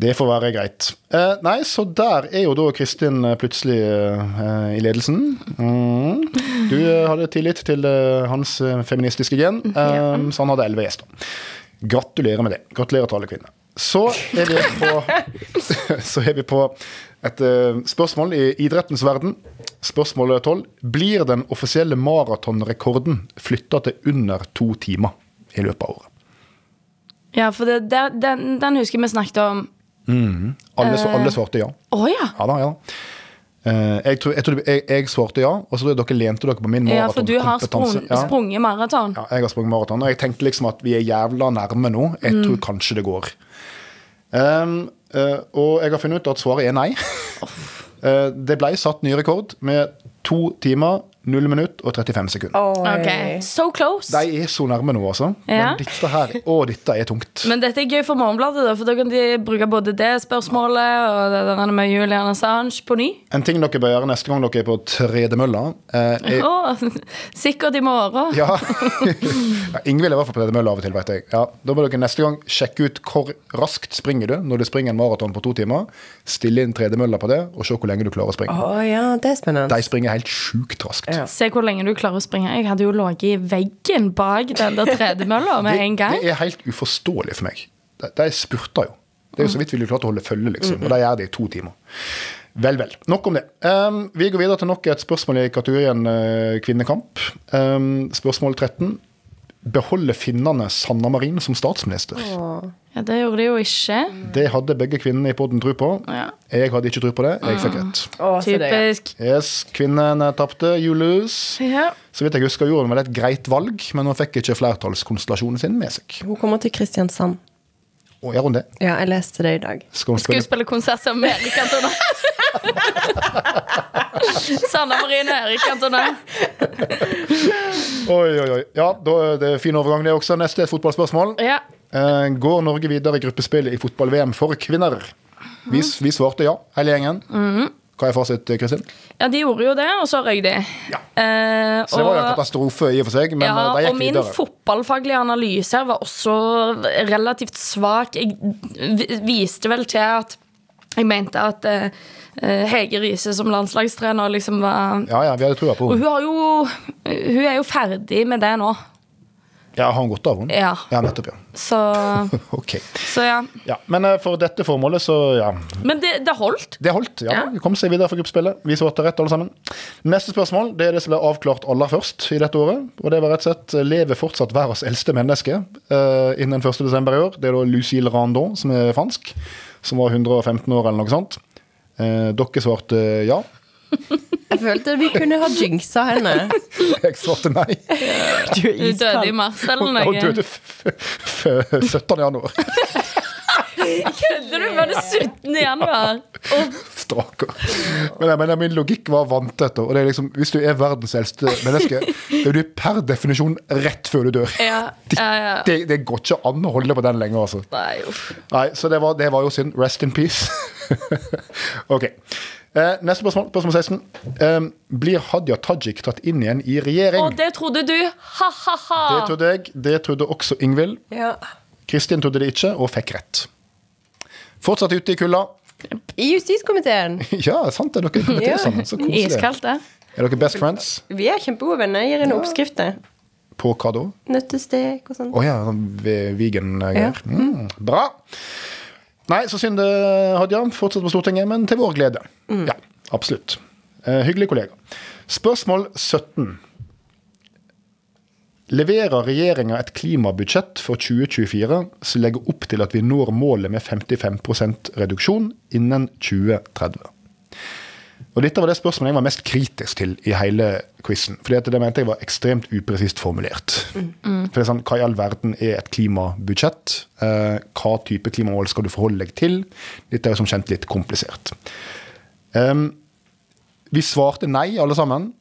Det får være greit. Eh, nei, så der er jo da Kristin eh, plutselig eh, i ledelsen. Mm. Du eh, hadde tillit til eh, hans eh, feministiske gen, eh, så han hadde elleve gjester. Gratulerer med det. Gratulerer til alle kvinner. Så er vi på, så er vi på et eh, spørsmål i idrettens verden. Spørsmål 12. Blir den offisielle maratonrekorden flytta til under to timer i løpet av året? Ja, for det, det, den, den husker vi snakket om. Alle, så, alle svarte ja. Å ja! Ja da, ja da. Eh, jeg, tror, jeg, tror, jeg, jeg svarte ja, og så tror jeg dere lente dere på min Ja, for du har maratonkompetanse. sprung, sprunget maraton. Ja, jeg har sprunget maraton, og jeg tenkte liksom at vi er jævla nærme nå. Jeg Mm. tror kanskje det går. Ehm, eh, og jeg har funnet ut at svaret er nei. Eh, det ble satt ny rekord med to timer, null minutt og 35 sekunder. Ok, So close. De er så nærme nå, altså. Ja. Men dette her, å, dette er tungt. Men dette er gøy for Morgenbladet, da, for da kan de bruke både det spørsmålet og det der med Julian Assange på ny. En ting dere bør gjøre neste gang dere er på tredemølla, eh, er Å, sikkert i morgen. Ja. ja Ingvild er i hvert fall på tredemølla av og til, vet jeg. Ja, da må dere neste gang sjekke ut hvor raskt springer du når du springer en maraton på to timer. Stille inn tredemølla på det, og se hvor lenge du klarer å springe. Å ja, det er spennende. De springer helt sjukt raskt. Ah. Ja. Se hvor lenge du klarer å springe. Jeg hadde jo ligget i veggen bak den der tredemølla med en gang. Det, det er helt uforståelig for meg. De, de spurter jo. Det er jo så vidt vi klarte å holde følge, liksom. Og de gjør det i to timer. Vel, vel. Nok om det. Um, vi går videre til nok et spørsmål i kategorien eh, kvinnekamp. Um, spørsmål 13. Beholder finnene Sanna Marin som statsminister? Ja, det gjorde de jo ikke. Det hadde begge kvinnene i podden tro på. Ja. Mm. Jeg hadde ikke tro på det. Jeg fikk rett. Å, se det, ja. Typisk. Yes, kvinnene tapte. Julius. Ja. Så vidt jeg husker, gjorde hun vel et greit valg, men hun fikk ikke flertallskonstellasjonen sin med seg. Hun kommer til Kristiansand. Og gjør hun det? Ja, jeg leste det i dag. Skal hun Skulle spille spille konsert sammen med Erik Antona. Sanna Marine og Erik Antona. Oi, oi, oi. Ja, da er det fin overgang, det også. Neste er et fotballspørsmål. Ja. Eh, Går Norge videre i gruppespillet i fotball-VM for kvinner? Mhm. Vi, vi svarte ja, hele gjengen. Hva er fasit, Kristin? ja, de gjorde jo det, og så røyk de. Eh, Så det var jo en og- katastrofe i og for seg, men eh, de ja, og gikk min videre. fotballfaglige analyse her var også relativt svak. Jeg vi- viste vel til at jeg mente at eh, eh, Hege Riise som landslagstrener liksom var Ja, ja, vi hadde trua på Og hun, henne. har jo, hun er jo ferdig med det nå. Ja, har hun godt av henne? Ja. Ja, nettopp, ja. Så, Ok. så ja. Ja, Men eh, for dette formålet, så ja. Men det, det holdt. Det holdt. ja. Vi kom seg videre for gruppespillet. Vi svarte rett, alle sammen. Neste spørsmål det er det som ble avklart aller først i dette året. Og det var rett og slett eh, lever fortsatt verdens eldste menneske eh, innen 1. desember i år. Det er da Lucille Randon, som er fransk, som var 115 år eller noe sånt. Eh, dere svarte ja. Jeg følte vi kunne ha jinxa henne. Jeg svarte nei. Du er Hun døde i mars eller Hun noe. hun døde f- f- f- 17. januar. Kødder du? Var det 17. januar? Og Stakkar. Men jeg mener, min logikk var vanntett. Og det er liksom, hvis du er verdens eldste menneske, det er du per definisjon rett før du dør. ja, ja, ja. Det, det går ikke an å holde på den lenger, altså. Nei, uff. Nei, så det var, det var jo synd. Rest in peace. ok. Eh, neste spørsmål, spørsmål 16. Eh, blir Hadia Tajik tatt inn igjen i Og regjering? det trodde du? Ha-ha-ha. Det trodde jeg. Det trodde også Ingvild. Ja. Kristin trodde det ikke, og fikk rett. Fortsatt ute i kulda. I justiskomiteen. Ja, sant det. Dere kommer Ja. til sammen. Så koselig. Iskaldt, det. Er dere best friends? Vi er kjempegode venner. Jeg gir henne oppskrifter. På hva da? Nøttestek og sånn. Å ja, sånn ve- vegan-greier. Mm, bra. Nei, så synd det, Hadia. Fortsatt på Stortinget, men til vår glede. Ja, absolutt. Eh, hyggelig kollega. Spørsmål 17. Leverer regjeringa et klimabudsjett for 2024 som legger opp til at vi når målet med 55 reduksjon innen 2030? Og dette var det spørsmålet jeg var mest kritisk til i hele quizen. For det mente jeg var ekstremt upresist formulert. For det er sånn, Hva i all verden er et klimabudsjett? Eh, hva type klimamål skal du forholde deg til? Dette er jo som kjent litt komplisert. Em, vi svarte nei, alle sammen.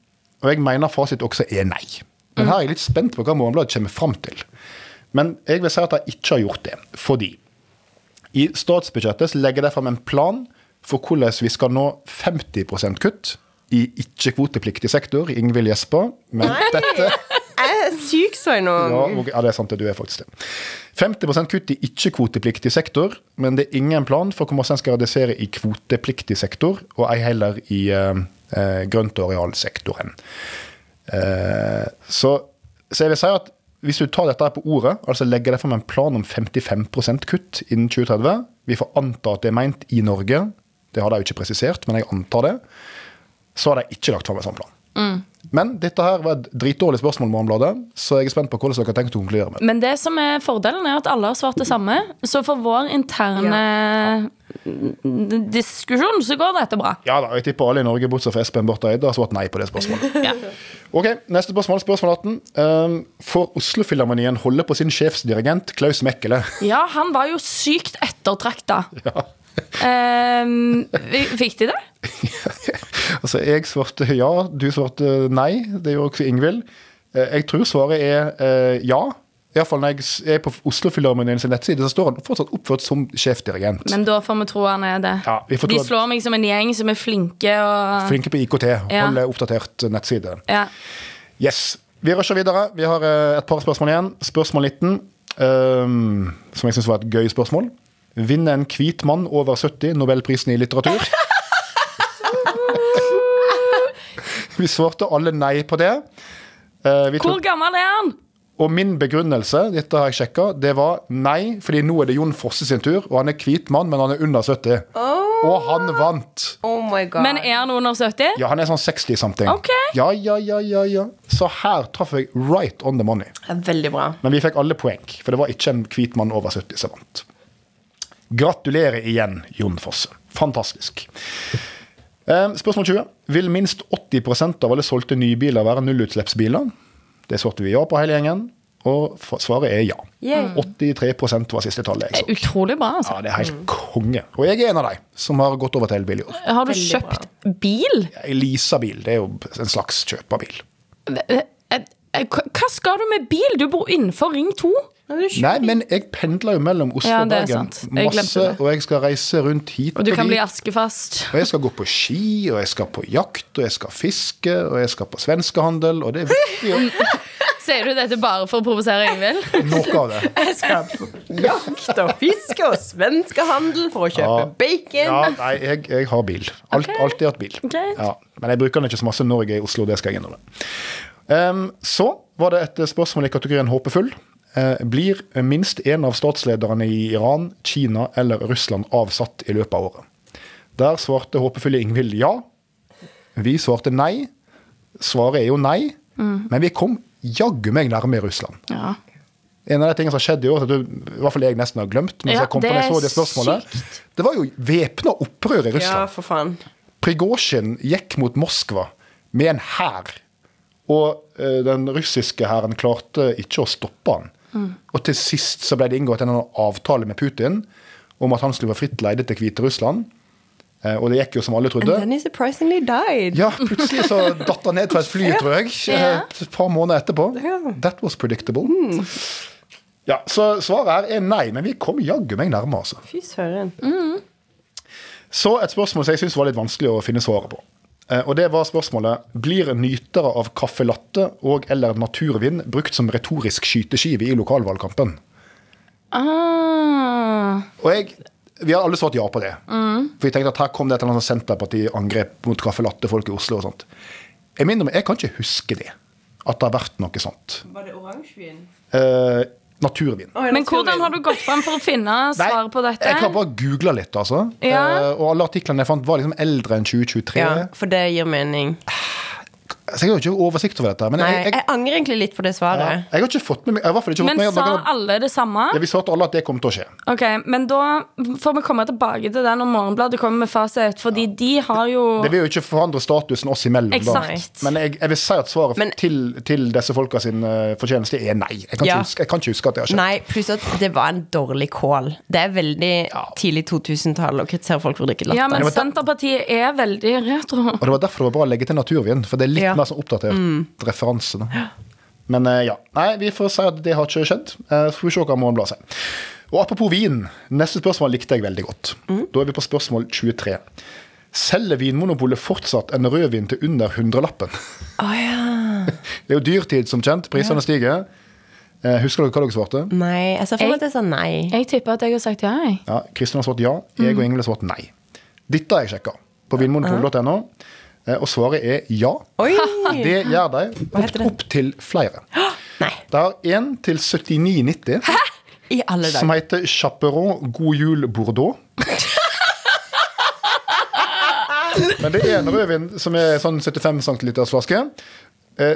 Og jeg mener fasit også er nei. Men her er jeg litt spent på hva Morgenbladet kommer fram til. Men jeg vil si at de ikke har gjort det, fordi i statsbudsjettet så legger de fram en plan for hvordan vi skal nå 50 kutt i ikke-kvotepliktig sektor. Ingvild gjespa. Men dette Jeg er syk, så jeg nå. ja, ok, ja, det er sant. det, Du er faktisk det. 50 kutt i ikke-kvotepliktig sektor, men det er ingen plan for hvor masse en skal redusere i kvotepliktig sektor, og ei heller i eh, eh, grønt- og arealsektoren. Eh, så, så jeg vil si at hvis du tar dette her på ordet, altså legger det fram en plan om 55 kutt innen 2030 Vi får anta at det er meint i Norge. Det har de jo ikke presisert, men jeg antar det. Så har de ikke lagt fram en sånn plan. Men dette her var et dritdårlig spørsmål, Morgenbladet, så jeg er spent på hvordan dere har tenkt å konkludere med det. Men det som er fordelen, er at alle har svart det samme. Så for vår interne n- diskusjon så går dette bra. Ja da, jeg tipper alle i Norge, bortsett fra Espen Barth Eide, har svart nei på det spørsmålet. Ok, Neste spørsmål, spørsmål 18. Um, får Oslofilharmonien holde på sin sjefsdirigent Klaus Mekkele? Ja, han var jo sykt ettertrakta. ja. fikk de det? Altså, jeg svarte ja, du svarte nei. Det gjorde også Ingvild. Eh, Jeg tror svaret er eh, ja. Iallfall når jeg s- er på Oslofilharmonien sin nettside, så står han fortsatt oppført som sjefdirigent. Men da får vi tro han er det. Ja, vi får tro de at- slår meg som en gjeng som er flinke og Flinke på IKT, Ja. holder oppdatert eh, nettside. ja. Yes. Vi rusher videre. Vi har eh, et par spørsmål igjen. Spørsmål 19, ehm, som jeg syns var et gøy spørsmål. Vinner en hvit mann over 70 Nobelprisen i litteratur? vi svarte alle nei på det. Eh, vi tok- Hvor gammel er han? Og min begrunnelse dette har jeg sjekket, det var nei, fordi nå er det Jon Fosse sin tur, og han er hvit mann, men han er under 70. Og han vant. Oh my god. Men er han under 70? Ja, han er sånn 60-something. Ok. Ja, ja, ja, ja, ja. Så her traff jeg right on the money. Veldig bra. Men vi fikk alle poeng, for det var ikke en hvit mann over 70 som vant. Gratulerer igjen, Jon Fosse. Fantastisk. Eh, Spørsmål 20. Vil minst 80 av alle solgte nybiler være nullutslippsbiler? Det svarte vi ja på hele gjengen, og f- svaret er ja. 83 var siste tallet jeg så. Utrolig bra, altså. Ja, det er helt konge. Og jeg er en av de som har gått over til elbil i år. Har du kjøpt bil? Jeg leaser bil, det er jo en slags kjøp av bil. Eh, eh, eh, Hva hva skal du med bil? Du bor innenfor Ring 2. Nei, men jeg pendler jo mellom Oslo Ja, og det er Bergen sant. Jeg glemte masse, det. og jeg skal reise rundt hit Og du kan dit. bli askefast. Og jeg skal gå på ski, og jeg skal på jakt, og jeg skal fiske, og jeg skal på svenskehandel, og det er viktig å- Sier du dette bare for å provosere Ingvild? noe av det. Jeg skal på jakt og fiske og svenskehandel for å kjøpe Ja. bacon. Ja, nei, jeg, jeg har bil. Alt, Ok. Alltid hatt bil. Greit. Ja, men jeg bruker den ikke så masse når jeg er i Oslo, det skal jeg innrømme. Ehm, så var det et spørsmål i kategorien håpefull. Eh, blir minst én av statslederne i Iran, Kina eller Russland avsatt i løpet av året? Der svarte håpefulle Ingvild ja. Vi svarte nei. Svaret er jo nei, Mm. men vi kom jaggu meg nærme Russland. Ja. En av de tingene som skjedde i år, som du, i hvert fall jeg nesten har glemt, mens Ja, jeg kom på det det, jeg så er det spørsmålet, det var jo væpna opprør i Ja, Russland. for faen. Prigozjin gikk mot Moskva med en hær, og eh, den russiske hæren klarte ikke å stoppe han. Mm. Og til sist så ble det inngått en eller annen avtale med Putin om at han skulle være fritt leide til Hviterussland, eh, og det gikk jo som alle trodde. Then he surprisingly died. Ja, plutselig så datt han ned fra et fly, tror jeg. Ja. Hmm. Et par måneder etterpå. Ja. That was predictable. Ja, Så svaret her er nei, men vi kom jaggu meg nærme, altså. Fy søren. Mm. Så et spørsmål som jeg syns var litt vanskelig å finne svaret på. Eh, Og det var spørsmålet Blir nytere av caffè latte og eller naturvin brukt som retorisk skyteskive i lokalvalgkampen? Ah. Og jeg, vi har alle svart ja på det. Mm. For vi tenkte at her kom det et eller annet sånn Senterparti-angrep mot caffè latte-folk i Oslo og sånt. Jeg minner meg, jeg kan ikke huske det. At det har vært noe sånt. Var det oransjevin? Eh, naturvin. Men hvordan har du gått fram for å finne svar på dette? Jeg har bare googla litt, altså. Ja. Eh, og alle artiklene jeg fant, var liksom eldre enn 2023. Ja, for det gir mening. Så jeg har jo ikke oversikt over dette. Men Nei, jeg, jeg, jeg angrer egentlig litt på det ja, svaret. jeg har ikke fått med meg jeg har i hvert fall ikke fått Men med meg at sa noen av- alle det samme? ja, Vi svarte alle at det kom til å skje. Ok, Men da får vi komme tilbake til det når Morgenbladet kommer med fasit, fordi de har jo Det vil jo ikke forandre statusen oss imellom. Exakt. Da. Men jeg, jeg vil si at svaret Men- til, til disse folka sin eh, fortjeneste er nei. Jeg kan, Ja. ikke huske, jeg kan ikke huske at det har skjedd. Nei, pluss at det var en dårlig kål. Det er veldig tidlig 2000-tall å kritisere folk for å drikke latte. Ja, men Det var- Senterpartiet er veldig retro. Og det var derfor det var bra å legge til naturvin, for det er litt Ja. mer sånn oppdatert referanse. Da. Men eh, ja. Nei, vi får si at det har ikke skjedd. Eh, så får vi se hva Morgenbladet sier. Og apropos vin, neste spørsmål likte jeg veldig godt. Da er vi på spørsmål 23. Selger Vinmonopolet fortsatt en rødvin til under hundrelappen? Å ja. Det er jo dyrtid, som kjent. Prisene stiger. Eh, husker dere hva dere svarte? Nei, jeg sa for meg at jeg sa nei. Jeg tipper at jeg har sagt ja. jeg. Ja, Kristin har svart ja, jeg og Ingvild har svart nei. Dette har jeg sjekka på vinmonopolet.no, eh, og svaret er ja. Oi! Det gjør de. heter Opp, det? opp til flere. Nei. Det har én til 79,90. I alle Som dager. heter Chaperon God jul Bordeaux. Men det er en rødvin som er sånn 75 centiliters flaske. Eh,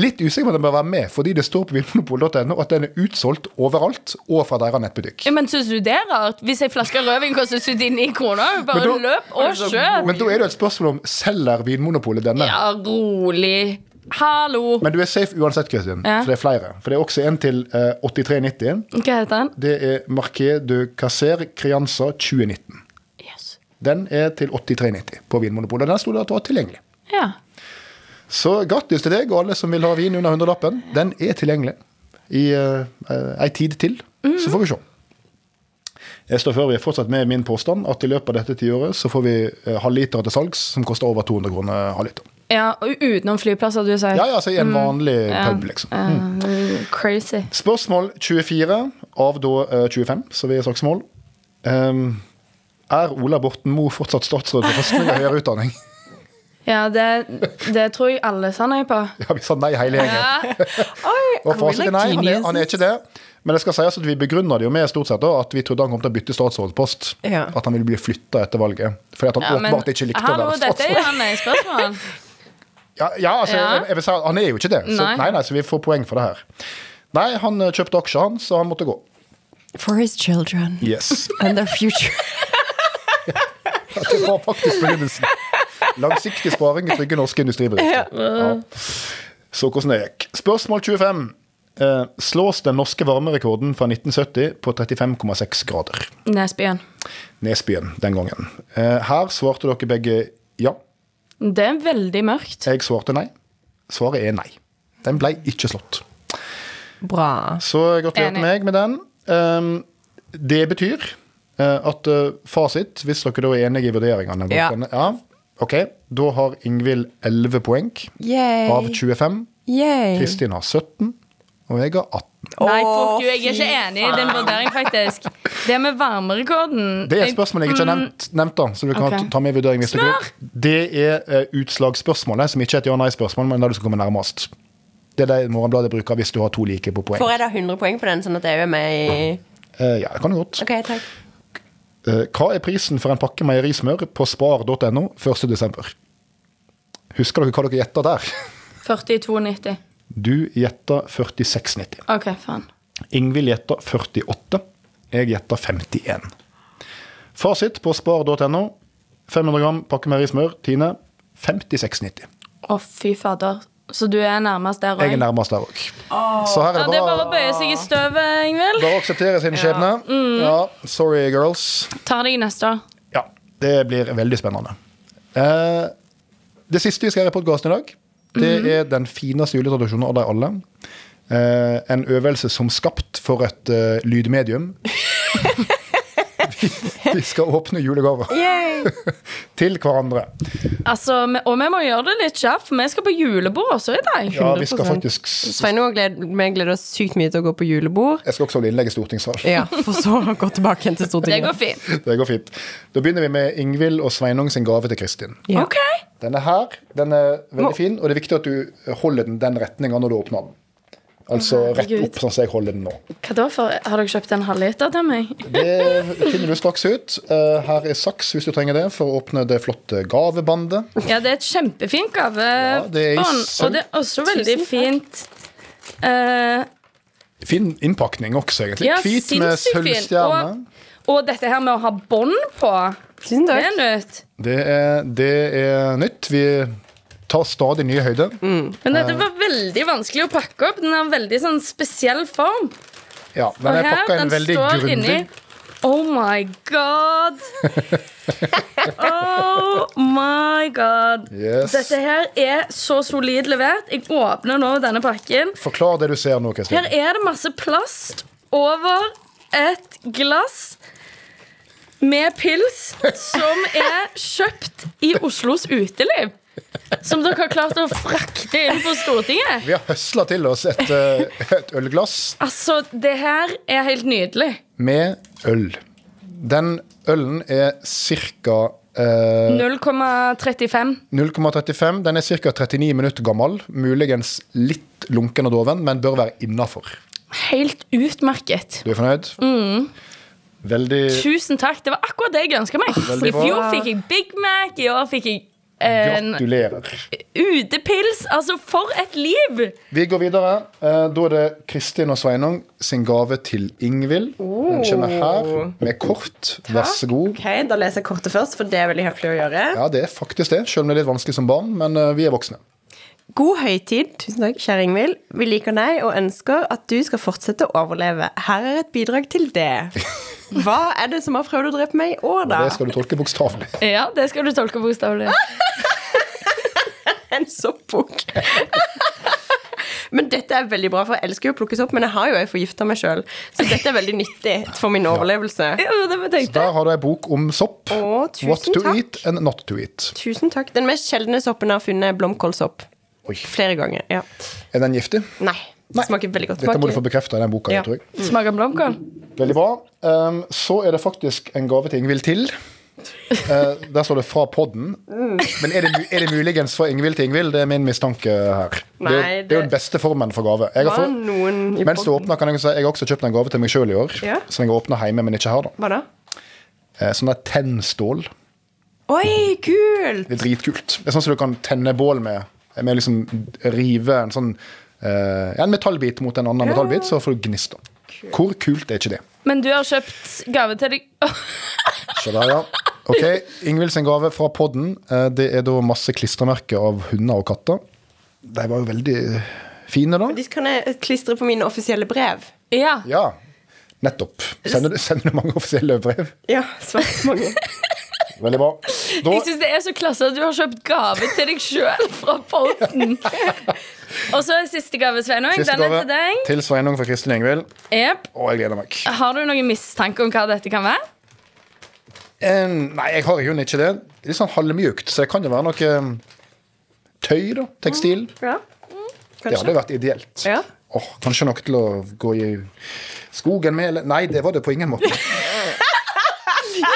litt usikker på om den bør være med, fordi det står på vinmonopol.no at den er utsolgt overalt og fra deres nettbutikk. Men syns du det er rart? Hvis ei flaske rødvin koster 79 kroner, bare Men da- løp og kjøp! Men da er det et spørsmål om selger Vinmonopolet denne. Ja, rolig. Hallo. Men du er safe uansett, Kristin. Ja. For det er flere. For det er også en til eh, 83,90. Hva heter den? Det er Marquet de Casser Crianza 2019. Yes. Den er til 83,90 på Vinmonopolet. og Den sto det at det var tilgjengelig. Ja. Så grattis til deg og alle som vil ha vin under hundrelappen. Den er tilgjengelig i eh, eh, ei tid til. Så får vi se. Jeg står for øvrig fortsatt med min påstand at i løpet av dette tiåret så får vi eh, halvlitere til salgs som koster over 200 kroner halvliter. ja og utenom flyplasser, du sier. Ja, ja, altså i en vanlig Ja. pub, liksom. Eh, crazy. Spørsmål 24 av da eh, 25, så vi er saksmål. Ehm, er Ola Borten Moe fortsatt statsråd for forskning og høyere utdanning? Ja, det, det tror jeg alle sa nei på. Ja, vi sa nei hele gjengen. Og fasiten er nei, han er, han er ikke det. Men det skal sies at vi begrunner det jo med stort sett da, at vi trodde han kom til å bytte statsrådspost. Ja. At han ville bli flytta etter valget. Fordi at han Ja, men- åpenbart ikke likte Hallo, å være dette er statsråd. jo nei-spørsmål. Ja, ja altså, Ja. Jeg, jeg vil si at han er jo ikke det. Så, Nei. nei, nei, så vi får poeng for det her. Nei, han eh, kjøpte aksjer, han, så han måtte gå. For his children Yes. and their future. Ja, det var faktisk begynnelsen. Langsiktig sparing i trygge norske industribedrifter. Ja. Så hvordan det gikk. Spørsmål 25. Eh, slås den norske varmerekorden fra 1970 på 35,6 grader? Nesbyen. Nesbyen den gangen. Eh, her svarte dere begge ja. Det er veldig mørkt. Jeg svarte nei. Svaret er nei. Den ble ikke slått. Bra. Så gratulerer Enig. til meg med den. Ehm, det betyr eh, at eh, fasit, hvis dere da er enige i vurderingene Ja. dere- ja. Ok, da har Ingvild 11 poeng av 25. Yay. Kristin har 17, og jeg har 18. Nei, fuck you, jeg er ikke enig i din vurdering, faktisk. Det med varmerekorden Det er et spørsmål jeg ikke har nevnt, nevnt da, så du kan Ok. ta med i vurdering. Hvis dere- det er eh, utslagsspørsmålet, som ikke er et ja-nei-spørsmål, men der du skal komme nærmest. Det er det Morgenbladet bruker hvis du har to like på poeng. Får jeg da 100 poeng på den, sånn at jeg er med i Eh, ja, det kan du godt. OK, takk. Eh, Hva er prisen for en pakke meierismør på spar.no 1.12.? Husker dere hva dere gjetta der? 42,90. Du gjetta 46,90. OK, faen. Ingvild gjetta 48. Jeg gjetta 51. Fasit på spar.no. 500 gram pakke meierismør. Tine 56,90. Å, fy fader. Så du er nærmest der Jeg er òg? nærmest der òg. Så her Ja, er det det er bare bare, å bøye seg i støvet, Ingvild. bare å akseptere sin skjebne. Mm. Ja, sorry, girls. Tar deg neste år. Ja, det blir veldig spennende. Eh, det siste vi skal gjøre i podkasten i dag, det er den fineste juletradisjonen av de alle. Eh, en øvelse som skapt for et eh, lydmedium. vi, vi skal åpne julegaver til hverandre. Altså, vi- og vi må gjøre det litt kjapt, for vi skal på julebord også i dag. Ja, vi skal 100%. faktisk s- Svein og jeg gleder, vi gleder oss sykt mye til å gå på julebord. Jeg skal også holde innlegg i stortingssal. Ja, For så å gå tilbake igjen til Det Stortinget. går fint. Det går fint. Da begynner vi med Ingvild og Sveinung sin gave til Kristin. Ja. OK. Den er her, den er veldig fin, og det er viktig at du holder den den retninga når du åpner den. Altså rett herregud. opp, sånn som jeg holder den nå. Hva da for? Har dere kjøpt en halvliter til meg? Det finner du straks ut. Eh, Her er saks hvis du trenger det for å åpne det flotte gavebandet. Ja, det er et kjempefint gave. Ja, det er i Bånd, sølv. og det er også veldig fint. Eh, Fin innpakning også, egentlig. Ja, Hvit med sinnssykt fin. sølvstjerne. og dette her med å ha bånd på, Tusen det er takk. nytt. Det er, det er nytt. Vi tar stadig nye høyder. Men dette var veldig vanskelig å pakke opp. Den har en veldig sånn spesiell form. Ja, Og men jeg her, pakka en den veldig står grundig inni. Oh my god! Oh my god. Yes. Dette her er så solid levert. Jeg åpner nå denne pakken. Forklar det du ser nå, Her Kristin. er det masse plast over et glass med pils som er kjøpt i Oslos uteliv. Som dere har klart å frakte inn på Stortinget. Vi har høsla til oss et, eh, et ølglass Altså, det her er helt nydelig. med øl. Den ølen er ca. Eh, 0,35. 0,35. Den er ca. 39 minutter gammel. Muligens litt lunken og doven, men bør være innafor. Helt utmerket. Du er fornøyd? Mm. Veldig Tusen takk. Det var akkurat det jeg ønska meg. I Veldig bra. fjor fikk jeg Big Mac, i år fikk jeg en Gratulerer. utepils. Altså, for et liv! Vi går videre. Eh, Da er det Kristin og Sveinung sin gave til Ingvild. Den kommer her Oh. med kort. Vær så god. Ok, Da leser jeg kortet først, for det er veldig høflig å gjøre. Ja, det er faktisk det, selv om det er litt vanskelig som barn, men eh, vi er voksne. God høytid, tusen takk, kjære Ingvild. Vi liker deg og ønsker at du skal fortsette å overleve. Her er et bidrag til det. Hva er det som har prøvd å drepe meg i år, da? Det skal du tolke bokstavelig. Ja, det skal du tolke bokstavelig. Ah! En soppbukk. Men dette er veldig bra, for jeg elsker jo å plukkes opp, men jeg har jo jeg forgifta meg sjøl. Så dette er veldig nyttig for min overlevelse. Ja, det var det jeg tenkte. Der har du ei bok om sopp. Å, tusen What to takk. eat and not to eat. Tusen takk. Den mest sjeldne soppen jeg har funnet, er blomkålsopp. Oi. Flere ganger. ja. Er den giftig? Nei. Det smaker veldig godt. Dette må du få Smaker- bekrefta i den boka. Ja. tror jeg. Smaker blomkål. Veldig bra. Ehm, så er det faktisk en gave til Ingvild til. Eh, der står det 'fra podden'. Men er det, mu- er det muligens fra Ingvild til Ingvild? Det er min mistanke her. det, er Nei, jo- det- det er jo den beste formen for gave. Jeg har Var fått- noen i mens du åpner, kan jeg si jeg har også kjøpt en gave til meg sjøl i år. Ja. Som jeg åpna hjemme, men ikke her. da. Hva da? Eh, sånn der tennstål. Oi, kult! Det er dritkult. Det er sånn som du kan tenne bål med. Med liksom rive en sånn eh, En metallbit mot en annen metallbit, så får du gnist. da. Hvor kult er ikke det? Men du har kjøpt gave til deg Åh, Så der, ja. Ok, Ingvild sin gave fra podden. eh, Det er da masse klistremerker av hunder og katter. De var jo veldig eh, fine, da. De kan jeg klistre på mine offisielle brev. Ja. Ja, nettopp. Sender du, sender du mange offisielle brev? Ja, svært mange. Veldig bra. Da, Jeg syns det er så klasse at du har kjøpt gave til deg sjøl fra Polten. Og så siste gave, Sveinung. siste Den er gave til deg. til Sveinung fra Kristin Ingvild. Jep. Å, jeg gleder meg. Har du noen mistanke om hva dette kan være? Eh, nei, jeg har jo ikke det. Det er Litt sånn halvmjukt, så det kan jo være noe eh, tøy, da. Tekstil. Mm. Ja. Det Kanskje. hadde vært ideelt. Ja. Åh, kanskje noe til å gå i skogen med, eller Nei, det var det på ingen måte.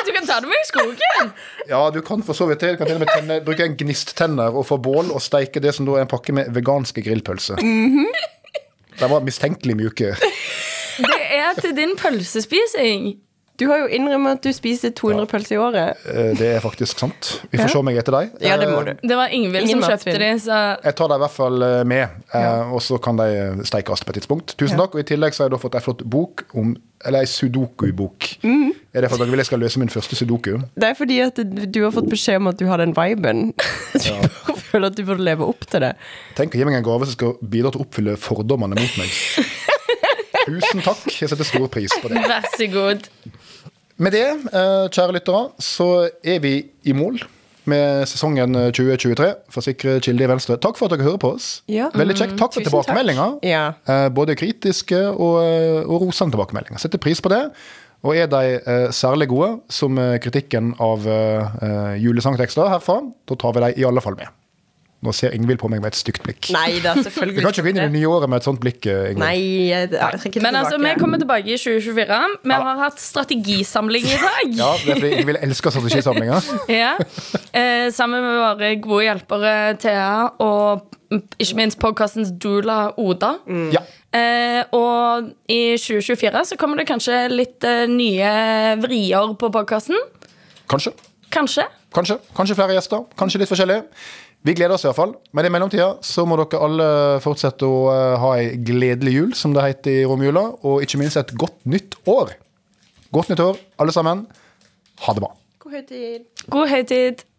Du kan ta det med i skogen. Ja, du kan for så vidt det. Du kan til og med tenne, bruke en gnisttenner og få bål og steike det som da er en pakke med veganske grillpølser. Mhm. De var mistenkelig mjuke. Det er til din pølsespising. Du har jo innrømmet at du spiser 200 pølser i året. Eh, Eh, Det er faktisk sant. Vi får se om jeg eter dem. Ja, det må du. Det var Ingvild som Ingen kjøpte matsvinn. de, så Jeg tar dem i hvert fall eh, med, eh, og så kan de eh, steikes på et tidspunkt. Tusen takk. Og i tillegg så har jeg da fått ei flott bok om Eller ei sudoku-bok. Mhm. Er det for at dere vil jeg skal løse min første sudoku? Det er fordi at du har fått beskjed om at du har den viben. Du bare føler at du burde leve opp til det. Tenk å gi meg en gave som skal bidra til å oppfylle fordommene mot meg. Tusen takk. Jeg setter stor pris på det. vær så god. Med det, eh, kjære lyttere, så er vi i mål med sesongen 2023 for Sikre kilder i Venstre. Takk for at dere hører på oss. Ja. Veldig kjekt. Takk for Tusen takk. tilbakemeldinger. Ja. Eh, Både kritiske og, eh, og rosende tilbakemeldinger. Setter pris på det. Og er de eh, særlig gode, som eh, kritikken av eh, eh, julesangtekster herfra, da tar vi de i alle fall med. Nå ser Ingvild på meg med et stygt blikk. Nei da, Du kan selvfølgelig ikke gå inn i det nye året med et sånt blikk, eh, Ingvild. Nei, jeg trekker det Men altså, vi tilbake. kommer tilbake i 2024. Vi har hatt strategisamling i dag. Ja, det er fordi Ingvild elsker strategisamlinger. Ja. Eh, sammen med våre gode hjelpere Thea og ikke minst podkastens doula Oda. Ja. Eh, og i 2024 så kommer det kanskje litt eh, nye vrier på podkasten. Kanskje. Kanskje. Kanskje. Kanskje flere gjester. Kanskje litt forskjellig. Vi gleder oss i hvert fall. Men i mellomtida så må dere alle fortsette å eh, ha ei gledelig jul, som det heter i romjula. Og ikke minst et godt nytt år. Godt nytt år, alle sammen. Ha det bra. God høytid. God høytid.